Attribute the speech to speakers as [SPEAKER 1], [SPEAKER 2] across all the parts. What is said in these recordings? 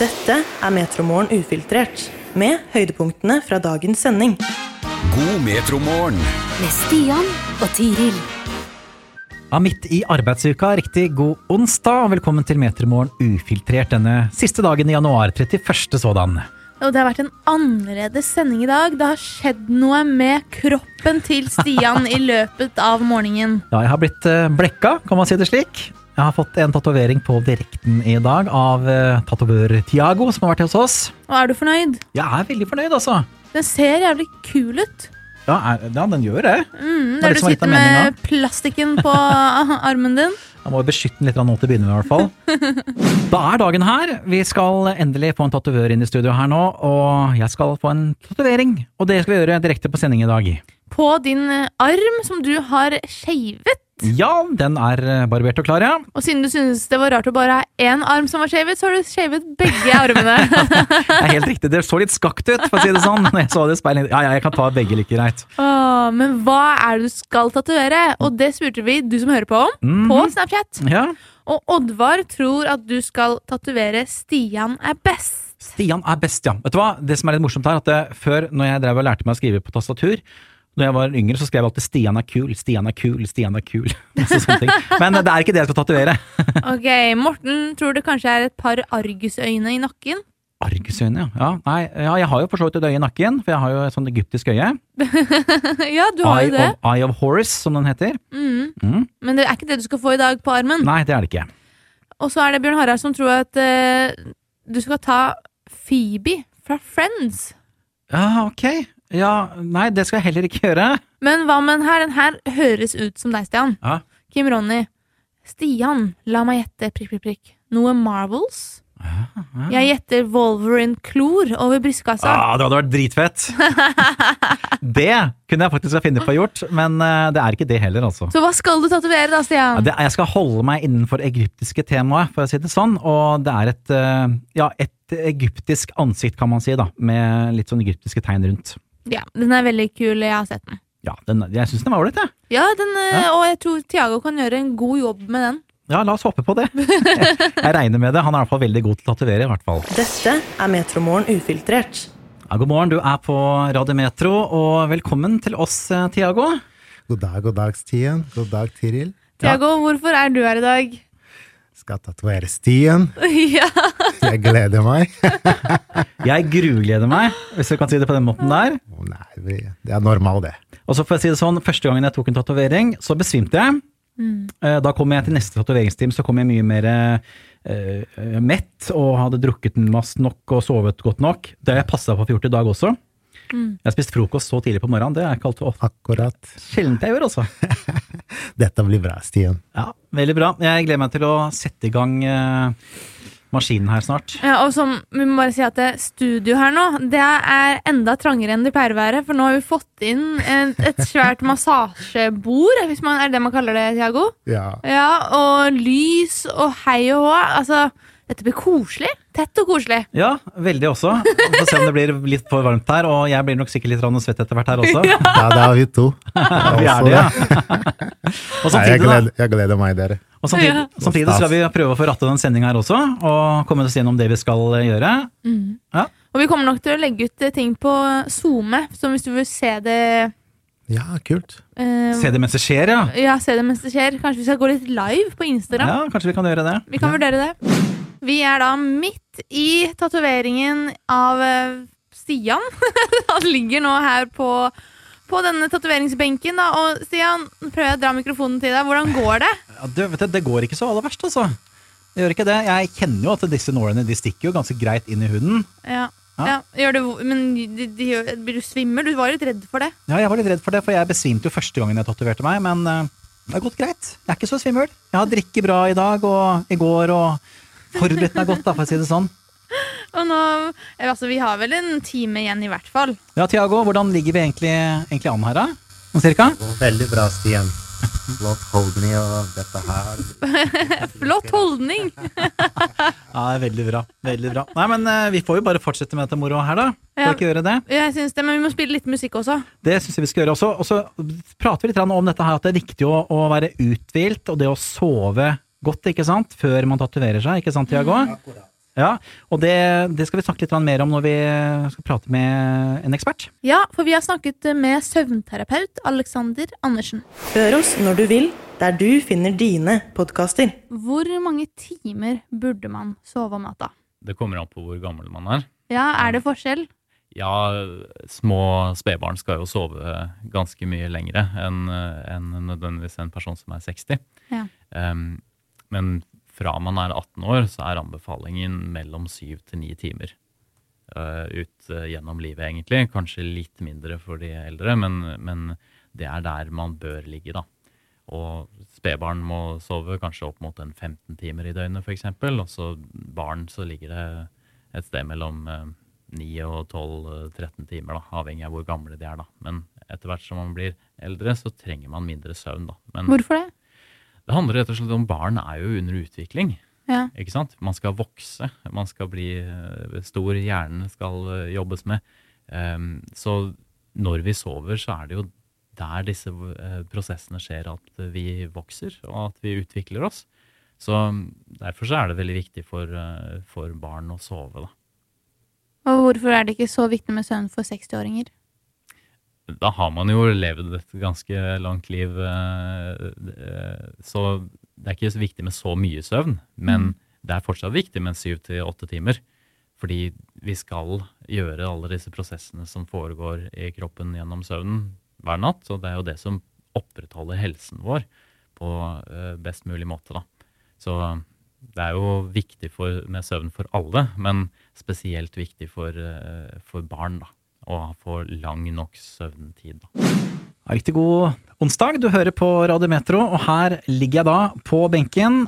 [SPEAKER 1] Dette er Metromorgen ufiltrert, med høydepunktene fra dagens sending.
[SPEAKER 2] God metromorgen.
[SPEAKER 3] med Stian og Tiril.
[SPEAKER 4] Ja, midt i arbeidsuka, riktig god onsdag, og velkommen til Metermorgen ufiltrert denne siste dagen i januar, 31. sådan.
[SPEAKER 5] Og det har vært en annerledes sending i dag. Det har skjedd noe med kroppen til Stian i løpet av morgenen.
[SPEAKER 4] Ja, jeg har blitt eh, blekka, kan man si det slik. Jeg har fått en tatovering på direkten i dag av eh, tatovør Tiago, som har vært hos oss.
[SPEAKER 5] Og er du fornøyd?
[SPEAKER 4] Jeg er veldig fornøyd, altså.
[SPEAKER 5] Den ser jævlig kul ut.
[SPEAKER 4] Ja, er, ja den gjør det.
[SPEAKER 5] Mm,
[SPEAKER 4] Det er
[SPEAKER 5] der
[SPEAKER 4] det
[SPEAKER 5] du
[SPEAKER 4] som er litt av
[SPEAKER 5] sitter med plastikken på armen din.
[SPEAKER 4] Jeg må jo beskytte den litt nå til å begynne med, i hvert fall. Da er dagen her. Vi skal endelig få en tatovør inn i studio her nå, og jeg skal få en tatovering. Og det skal vi gjøre direkte på sending i dag.
[SPEAKER 5] På din eh, arm, som du har skeivet.
[SPEAKER 4] Ja, den er eh, barbert og klar, ja.
[SPEAKER 5] Og siden du syntes det var rart å bare ha én arm som var skeivet, så har du skeivet begge armene.
[SPEAKER 4] Det er helt riktig. Det så litt skakt ut, for å si det sånn. Når jeg så det i speilet. Ja, ja, jeg kan ta begge like greit.
[SPEAKER 5] Åh, men hva er det du skal tatovere? Og det spurte vi du som hører på om,
[SPEAKER 4] Mhm.
[SPEAKER 5] på Snapchat.
[SPEAKER 4] Ja.
[SPEAKER 5] Og Oddvar tror at du skal tatovere 'Stian er best'.
[SPEAKER 4] Stian er best, ja. Vet du hva? Det som er litt morsomt her, at eh, før, når jeg drev og lærte meg å skrive på tastatur, når jeg var yngre, så skrev jeg alltid 'Stian er kul', 'Stian er kul', 'Stian er kul'. Masse sånne ting. Men eh, det er ikke det jeg skal tatovere.
[SPEAKER 5] Ok, Morten tror det kanskje er et par argusøyne i nakken.
[SPEAKER 4] Argusøyne, ja. ja. Nei, ja, jeg har jo for så vidt et øye i nakken, for jeg har jo et sånt egyptisk øye.
[SPEAKER 5] ja, du har jo
[SPEAKER 4] Eye
[SPEAKER 5] det.
[SPEAKER 4] of, Eye of Horus, som den heter.
[SPEAKER 5] Mm.
[SPEAKER 4] Mm.
[SPEAKER 5] Men det er ikke det du skal få i dag på armen.
[SPEAKER 4] Nei, det er det ikke.
[SPEAKER 5] Og så er det Bjørn Harald som tror at eh, du skal ta Phoebe fra Friends.
[SPEAKER 4] Ja, Ah, ok. Ja, nei, det skal jeg heller ikke gjøre.
[SPEAKER 5] Men hva med den her? Den her høres ut som deg, Stian.
[SPEAKER 4] Ja.
[SPEAKER 5] Kim Ronny. Stian, la meg gjette, prikk, prikk, prikk. Noe Marvels? Jeg gjetter Wolverine-klor over brystkassa.
[SPEAKER 4] Ah, det hadde vært dritfett! det kunne jeg faktisk ha funnet på å gjort, men eh, det er ikke det heller, altså.
[SPEAKER 5] Så hva skal du tatovere da,
[SPEAKER 4] Ja,
[SPEAKER 5] Stian?
[SPEAKER 4] det, jeg skal holde meg innenfor egyptiske temaet, for å si det sånn, og det er et, eh, ja, et egyptisk ansikt, kan man si, da, med litt sånn egyptiske tegn rundt.
[SPEAKER 5] Ja, den er veldig kul, jeg har sett den.
[SPEAKER 4] Ja, den, jeg syns den var ålreit, jeg.
[SPEAKER 5] Ja, den, eh, og jeg tror Tiago kan gjøre en god jobb med den.
[SPEAKER 4] Ja, la oss håpe på det. Jeg regner med det. Han er i hvert fall veldig god til å tatovere. i hvert fall.
[SPEAKER 1] Dette er Metromorgen ufiltrert.
[SPEAKER 4] Ja, god morgen, du er på Radio Metro, og velkommen til oss, eh, Tiago.
[SPEAKER 6] God dag, god dag, Stian. God dag, Tiril.
[SPEAKER 5] Tiago, hvorfor er du her i dag?
[SPEAKER 6] Skal tatovere Stian.
[SPEAKER 5] ja.
[SPEAKER 6] Jeg gleder meg.
[SPEAKER 4] Jeg grugleder meg, hvis du kan si det på den måten der.
[SPEAKER 6] Å nei, vi- det er normalt, det.
[SPEAKER 4] Og så får jeg si det sånn, Første gangen jeg tok en tatovering, så besvimte jeg. Eh, Da kom jeg til neste tatoveringsteam, så kom jeg mye mer eh, eh, mett og hadde drukket masse nok og sovet godt nok. Det har jeg passa på å få gjort i dag også. Jeg har spist frokost så tidlig på morgenen. Det er ikke alltid ofte.
[SPEAKER 6] Akkurat.
[SPEAKER 4] Sjelden jeg gjør, altså.
[SPEAKER 6] Dette blir bra, Stian.
[SPEAKER 4] Ja, Veldig bra. Jeg gleder meg til å sette i gang eh, maskinen her snart.
[SPEAKER 5] ja, og som vi må bare si at det studio her nå, det er enda trangere enn det pleier å være, for nå har vi fått inn et, et svært massasjebord, hvis man er det man kaller det, Tiago.
[SPEAKER 6] Ja.
[SPEAKER 5] Ja, og lys og hei og hå. Altså, dette blir koselig. Tett og koselig.
[SPEAKER 4] Ja, veldig også. Vi får se om det blir litt for varmt her, og jeg blir nok sikkert litt rann og svett etter hvert her også.
[SPEAKER 6] Da, da er vi to.
[SPEAKER 4] Vi er det, ja. Og
[SPEAKER 6] Nei,
[SPEAKER 4] samtidig,
[SPEAKER 6] jeg,
[SPEAKER 4] da,
[SPEAKER 6] gleder, jeg gleder meg, dere.
[SPEAKER 4] og samtidig,
[SPEAKER 5] Ja.
[SPEAKER 4] samtidig så skal vi prøve å få rattet den sendingen her også, og komme oss gjennom det vi skal eh, gjøre.
[SPEAKER 5] Og vi kommer nok til å legge ut eh, ting på SoMe, så hvis du vil se det
[SPEAKER 6] Ja, kult.
[SPEAKER 5] eh,
[SPEAKER 4] Se det mens det skjer, ja.
[SPEAKER 5] Ja, se det mens det skjer. Kanskje vi skal gå litt live på Instagram?
[SPEAKER 4] Ja, Kanskje vi kan gjøre det.
[SPEAKER 5] Vi kan vurdere det. Vi er da midt i tatoveringen av eh, Stian. Han ligger nå her på, på denne tatoveringsbenken. da. Og Stian, nå prøver jeg å dra mikrofonen til deg. Hvordan går det?
[SPEAKER 4] Ja, du, vet du, det går ikke så aller verst, altså. Det gjør ikke det. Jeg kjenner jo at disse nålene de stikker jo ganske greit inn i huden.
[SPEAKER 5] Ja.
[SPEAKER 4] Ja.
[SPEAKER 5] Ja, gjør det vo- men de, de, gjør- blir du svimmel? Du var litt redd for det.
[SPEAKER 4] Ja, jeg var litt redd for det, for jeg besvimte jo første gangen jeg tatoverte meg, men eh, det har gått greit. Jeg er ikke så svimmel. Jeg har drikket bra i dag og i går og forberedt meg godt, da, for å si det sånn.
[SPEAKER 5] Og nå, eh, altså Vi har vel en time igjen, i hvert fall.
[SPEAKER 4] Ja, Tiago, hvordan ligger vi egentlig, egentlig an her, da? Sånn cirka?
[SPEAKER 6] Går veldig bra, Stian. Flott holdning og dette her.
[SPEAKER 5] Flott holdning!
[SPEAKER 4] Ja, veldig bra. Veldig bra. Nei, men eh, vi får jo bare fortsette med dette moroa her, da. Skal
[SPEAKER 5] Ja.
[SPEAKER 4] vi ikke gjøre det?
[SPEAKER 5] Jeg synes det, Men vi må spille litt musikk også.
[SPEAKER 4] Det syns jeg vi skal gjøre også. Og så prater vi litt grann om dette her, at det er viktig å, å være uthvilt og det å sove godt ikke sant? før man tatoverer seg. ikke sant, Tiago? Ja, og det, det skal vi snakke litt grann mer om når vi skal prate med en ekspert.
[SPEAKER 5] Ja, for vi har snakket med søvnterapeut Alexander Andersen.
[SPEAKER 1] Hør oss når du vil, der du finner dine podkaster.
[SPEAKER 5] Hvor mange timer burde man sove om natta?
[SPEAKER 7] Det kommer an på hvor gammel man er.
[SPEAKER 5] Ja, er det forskjell?
[SPEAKER 7] Ja, små spedbarn skal jo sove ganske mye lengre enn enn nødvendigvis en person som er 60.
[SPEAKER 5] Ja.
[SPEAKER 7] Ehm, men fra man er 18 år, så er anbefalingen mellom 7 til 9 timer. eh, ut eh, gjennom livet, egentlig. Kanskje litt mindre for de eldre, men, men det er der man bør ligge, da. Og spedbarn må sove kanskje opp mot en 15 timer i døgnet, f.eks. Og så barn så ligger det et sted mellom eh, 9 og 12-13 timer, da, avhengig av hvor gamle de er. da. Men etter hvert som man blir eldre, så trenger man mindre søvn. da. Men
[SPEAKER 5] Hvorfor det?
[SPEAKER 7] det handler rett og slett om barn er jo under utvikling.
[SPEAKER 5] Ja.
[SPEAKER 7] ikke sant? Man skal vokse, man skal bli eh, stor, hjernen skal eh, jobbes med. Ehm, Så når vi sover, så er det jo der disse eh, prosessene skjer, at vi vokser og at vi utvikler oss. Så mm, derfor så er det veldig viktig for, eh, for barn å sove, da.
[SPEAKER 5] Og hvorfor er det ikke så viktig med søvn for 60-åringer?
[SPEAKER 7] da har man jo levd et ganske langt liv. eh, eh, Så det er ikke så viktig med så mye søvn, men det er fortsatt viktig med syv til åtte timer. Fordi vi skal gjøre alle disse prosessene som foregår i kroppen gjennom søvnen hver natt. Og det er jo det som opprettholder helsen vår på eh, best mulig måte, da. Så det er jo viktig for, med søvn for alle, men spesielt viktig for, eh, for barn, da. Og få lang nok søvntid, da.
[SPEAKER 4] Ja, riktig god onsdag. Du hører på Radio Metro, og her ligger jeg da på benken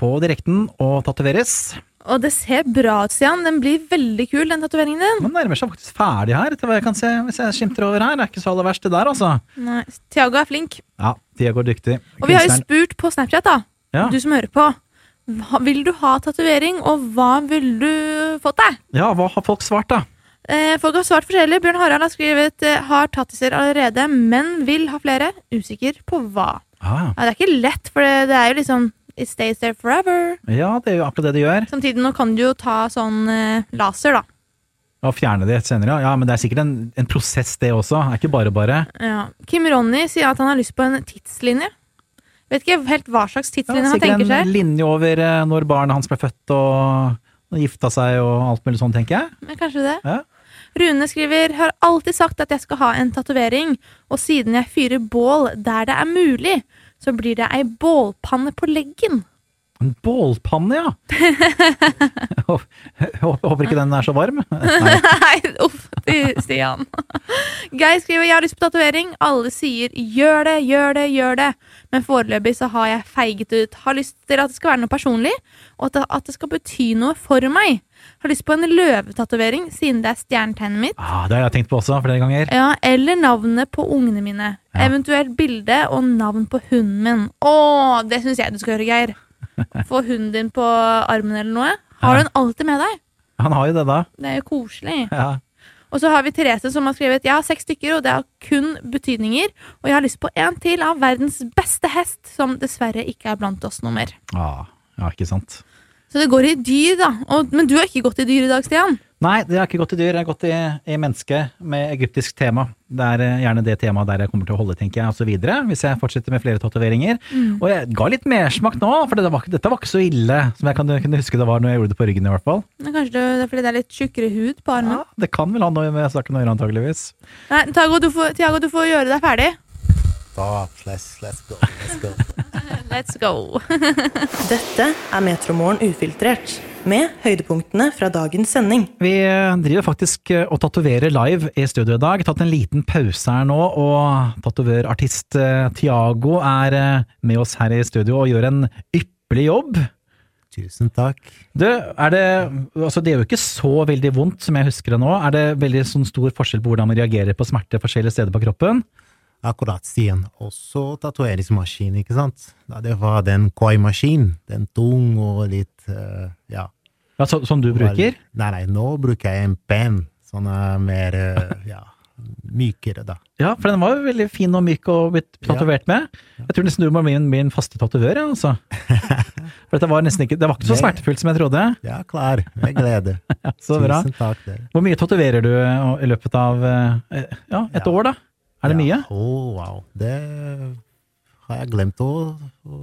[SPEAKER 4] på direkten og tatoveres.
[SPEAKER 5] Og det ser bra ut, Stian. Den blir veldig kul, den tatoveringen din.
[SPEAKER 4] Man nærmer seg faktisk ferdig her, etter hva jeg kan se hvis jeg skimter over her. Det er ikke så aller verst, det der, altså.
[SPEAKER 5] Nei, Tiago er flink.
[SPEAKER 4] Ja, de går dyktig.
[SPEAKER 5] Og vi har jo
[SPEAKER 4] Kunstneren.
[SPEAKER 5] spurt på Snapchat, da.
[SPEAKER 4] Ja.
[SPEAKER 5] Du som hører på. Hva, vil du ha tatovering, og hva ville du fått deg?
[SPEAKER 4] ja, hva har folk svart, da?
[SPEAKER 5] Eh, folk har svart forskjellig. Bjørn Harald har skrevet eh, 'har tattiser allerede, men vil ha flere'. Usikker på hva.
[SPEAKER 4] Ah,
[SPEAKER 5] Ja, det er ikke lett, for det, det er jo liksom It stays there forever.
[SPEAKER 4] ja, det er jo akkurat det de gjør.
[SPEAKER 5] Samtidig nå kan du jo ta sånn eh, laser, da.
[SPEAKER 4] Å fjerne de senere, ja. ja. Men det er sikkert en, en prosess, det også. Det er ikke bare bare.
[SPEAKER 5] Ja. Kim Ronny sier at han har lyst på en tidslinje. Vet ikke helt hva slags
[SPEAKER 4] Ja,
[SPEAKER 5] tidslinje han
[SPEAKER 4] sikkert
[SPEAKER 5] tenker
[SPEAKER 4] en
[SPEAKER 5] seg.
[SPEAKER 4] linje over eh, når barnet hans ble født og, og gifta seg og alt mulig sånn, tenker jeg.
[SPEAKER 5] Men kanskje det.
[SPEAKER 4] Ja.
[SPEAKER 5] Rune skriver har alltid sagt at jeg skal ha en tatovering, og siden jeg fyrer bål der det er mulig, så blir det ei bålpanne på leggen.
[SPEAKER 4] En bålpanne, ja! Jeg håper- jeg håper ikke den er så varm. Nei.
[SPEAKER 5] Nei, uff, du, Stian. Geir skriver jeg har lyst på tatovering. Alle sier gjør det, gjør det, gjør det. Men foreløpig så har jeg feiget ut. Har lyst til at det skal være noe personlig, og at det, at det skal bety noe for meg. Har lyst på en løvetatovering siden det er stjernetegnet mitt.
[SPEAKER 4] Ah, det har jeg tenkt på også flere ganger.
[SPEAKER 5] Ja, eller navnet på ungene mine.
[SPEAKER 4] Ja.
[SPEAKER 5] Eventuelt bilde og navn på hunden min. Å, det syns jeg du skal gjøre, Geir. Få hunden din på armen eller noe. Har du den alltid med deg?
[SPEAKER 4] Han har jo det, da.
[SPEAKER 5] Det er jo koselig.
[SPEAKER 4] Ja.
[SPEAKER 5] Og så har vi Therese som har skrevet Jeg har seks stykker, og det har kun betydninger. Og jeg har lyst på en til av verdens beste hest, som dessverre ikke er blant oss noe mer.
[SPEAKER 4] Ah, ja, ikke sant.
[SPEAKER 5] Så det går i dyr, da. Og, men du har ikke gått i dyr i dag, Stian.
[SPEAKER 4] Nei, det har ikke gått i dyr. Jeg har gått i, i menneske med egyptisk tema. Det er eh, gjerne det temaet der jeg kommer til å holde, tenker jeg, og så videre. Hvis jeg fortsetter med flere tatoveringer. Og jeg ga litt mersmak nå, for dette var, ikke- dette var ikke så ille som jeg kan, kunne huske det var når jeg gjorde det på ryggen, i hvert fall.
[SPEAKER 5] Men Kanskje det, det er fordi det er litt tjukkere hud på armen.
[SPEAKER 4] Ja, det kan vel ha noe med saken å gjøre, antageligvis.
[SPEAKER 5] Nei, Tago, du får, Tiago, du får gjøre deg ferdig.
[SPEAKER 6] Stop. Let's, let's go. Let's go.
[SPEAKER 5] Let's go.
[SPEAKER 1] Dette er Metromorgen ufiltrert, med høydepunktene fra dagens sending.
[SPEAKER 4] Vi eh, driver faktisk og tatoverer live i studio i dag. Tatt en liten pause her nå, og tatovørartist eh, Tiago er eh, med oss her i studio og gjør en ypperlig jobb.
[SPEAKER 6] Tusen takk.
[SPEAKER 4] Du, er det Altså, det gjør jo ikke så veldig vondt som jeg husker det nå. Er det veldig sånn stor forskjell på hvordan man reagerer på smerte forskjellige steder på kroppen?
[SPEAKER 6] Akkurat, Stian. Også tatoveringsmaskin, ikke sant? Da det var den koi-maskin. Den tung og litt eh, Ja.
[SPEAKER 4] Ja, så, som du bruker?
[SPEAKER 6] Nei, nei, nå bruker jeg en penn. Sånn eh, mer eh, Ja, mykere, da.
[SPEAKER 4] Ja, for den var jo veldig fin og myk og blitt tatovert med. Jeg tror nesten du må bli min, min faste tatovør, ja, altså. For dette var nesten ikke, det var ikke så
[SPEAKER 6] Nei.
[SPEAKER 4] smertefullt som jeg trodde.
[SPEAKER 6] Ja, klar. Med glede.
[SPEAKER 4] Så bra.
[SPEAKER 6] Tusen takk. Dere.
[SPEAKER 4] Hvor mye tatoverer du eh, i løpet av eh, ja, et
[SPEAKER 6] Ja.
[SPEAKER 4] år, da? Er det mye?
[SPEAKER 6] Ja, oh, wow. Det har jeg glemt å, å,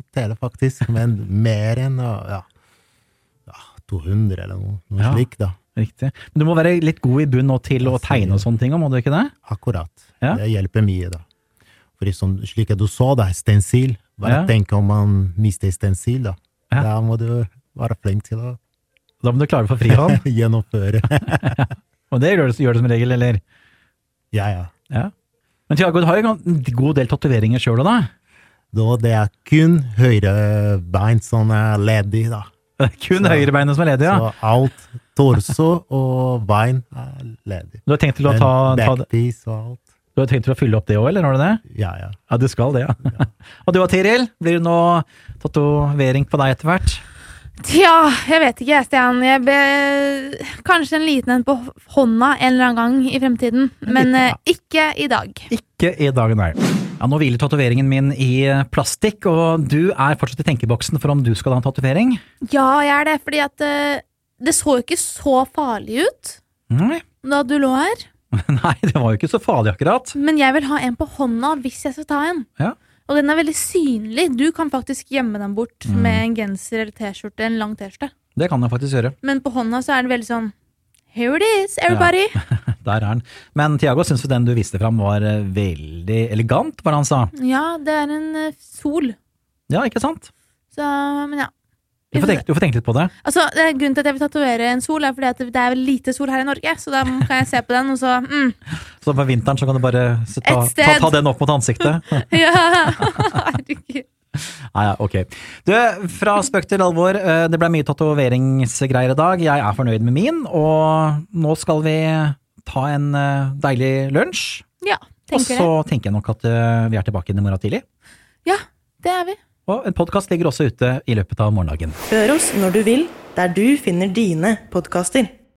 [SPEAKER 6] å telle, faktisk. Men mer enn ja, ja, 200 eller noe, noe
[SPEAKER 4] Ja.
[SPEAKER 6] slik, da.
[SPEAKER 4] Riktig. Men du må være litt god i bunn nå til å tegne og sånne ting, må du ikke det?
[SPEAKER 6] Akkurat.
[SPEAKER 4] Ja.
[SPEAKER 6] Det hjelper mye, da. For som, slik at du så, da, stensil. Bare
[SPEAKER 4] Ja.
[SPEAKER 6] tenk om man mister stensil, da.
[SPEAKER 4] Ja.
[SPEAKER 6] Da må du være flink til å
[SPEAKER 4] Da må du klare det på frihånd.
[SPEAKER 6] gjennomføre.
[SPEAKER 4] Og det gjør du, gjør du som regel, eller?
[SPEAKER 6] ja, ja.
[SPEAKER 4] Ja. Men Tiago, du har jo en god del tatoveringer sjøl òg, da?
[SPEAKER 6] Da det er kun høyre bein som er ledig, da.
[SPEAKER 4] Det er kun
[SPEAKER 6] Så-
[SPEAKER 4] høyrebeinet som er ledig, ja?
[SPEAKER 6] Så alt, torso og bein, er ledig.
[SPEAKER 4] Du har tenkt til å, ta, ta, det-
[SPEAKER 6] backpiece og alt.
[SPEAKER 4] du har tenkt til å fylle opp det òg, eller har du det?
[SPEAKER 6] Ja, ja.
[SPEAKER 4] Ja, du skal det, ja. og du og Tiril, blir det noe tatovering på deg etter hvert?
[SPEAKER 5] Tja, jeg vet ikke, jeg, Stian. Jeg be... Kanskje en liten en på hånda en eller annen gang i fremtiden. Men eh, ikke i dag.
[SPEAKER 4] Ikke i dag, nei. Ja, nå hviler tatoveringen min i eh, plastikk, og du er fortsatt i tenkeboksen for om du skal ha en tatovering.
[SPEAKER 5] Ja, jeg er det, fordi at eh, det så jo ikke så farlig ut
[SPEAKER 4] Nei.
[SPEAKER 5] da du lå her.
[SPEAKER 4] nei, det var jo ikke så farlig akkurat.
[SPEAKER 5] Men jeg vil ha en på hånda hvis jeg skal ta en.
[SPEAKER 4] Ja.
[SPEAKER 5] Og den er veldig synlig. Du kan faktisk gjemme den bort
[SPEAKER 4] Mm.
[SPEAKER 5] med en genser eller T-skjorte. En lang T-skjorte.
[SPEAKER 4] Det kan jeg faktisk gjøre.
[SPEAKER 5] Men på hånda så er det veldig sånn Here it is, everybody!
[SPEAKER 4] Der er den. Men Tiago syns jo den du viste fram var eh, veldig elegant, var det han sa.
[SPEAKER 5] Ja, det er en eh, sol.
[SPEAKER 4] Ja, ikke sant?
[SPEAKER 5] Så, men ja.
[SPEAKER 4] Du får tenke, du får tenke litt på det.
[SPEAKER 5] Altså, det er Grunnen til at jeg vil tatovere en sol, er fordi at det er vel lite sol her i Norge. Så da kan jeg se på den, og så mm,
[SPEAKER 4] Så på vinteren så kan du bare s- ta,
[SPEAKER 5] Et sted.
[SPEAKER 4] ta, ta den opp mot ansiktet.
[SPEAKER 5] ja. Herregud.
[SPEAKER 4] Nei, ja, ok. Du, fra spøk til alvor, eh, det ble mye tatoveringsgreier i dag. Jeg er fornøyd med min, og nå skal vi ta en eh, deilig lunsj.
[SPEAKER 5] Ja,
[SPEAKER 4] Og
[SPEAKER 5] tenker
[SPEAKER 4] så
[SPEAKER 5] jeg.
[SPEAKER 4] tenker jeg nok at eh, vi er tilbake i morgen tidlig.
[SPEAKER 5] Ja, det er vi.
[SPEAKER 4] Og en podkast ligger også ute i løpet av morgendagen.
[SPEAKER 1] Hør oss når du vil, der du finner dine podkaster.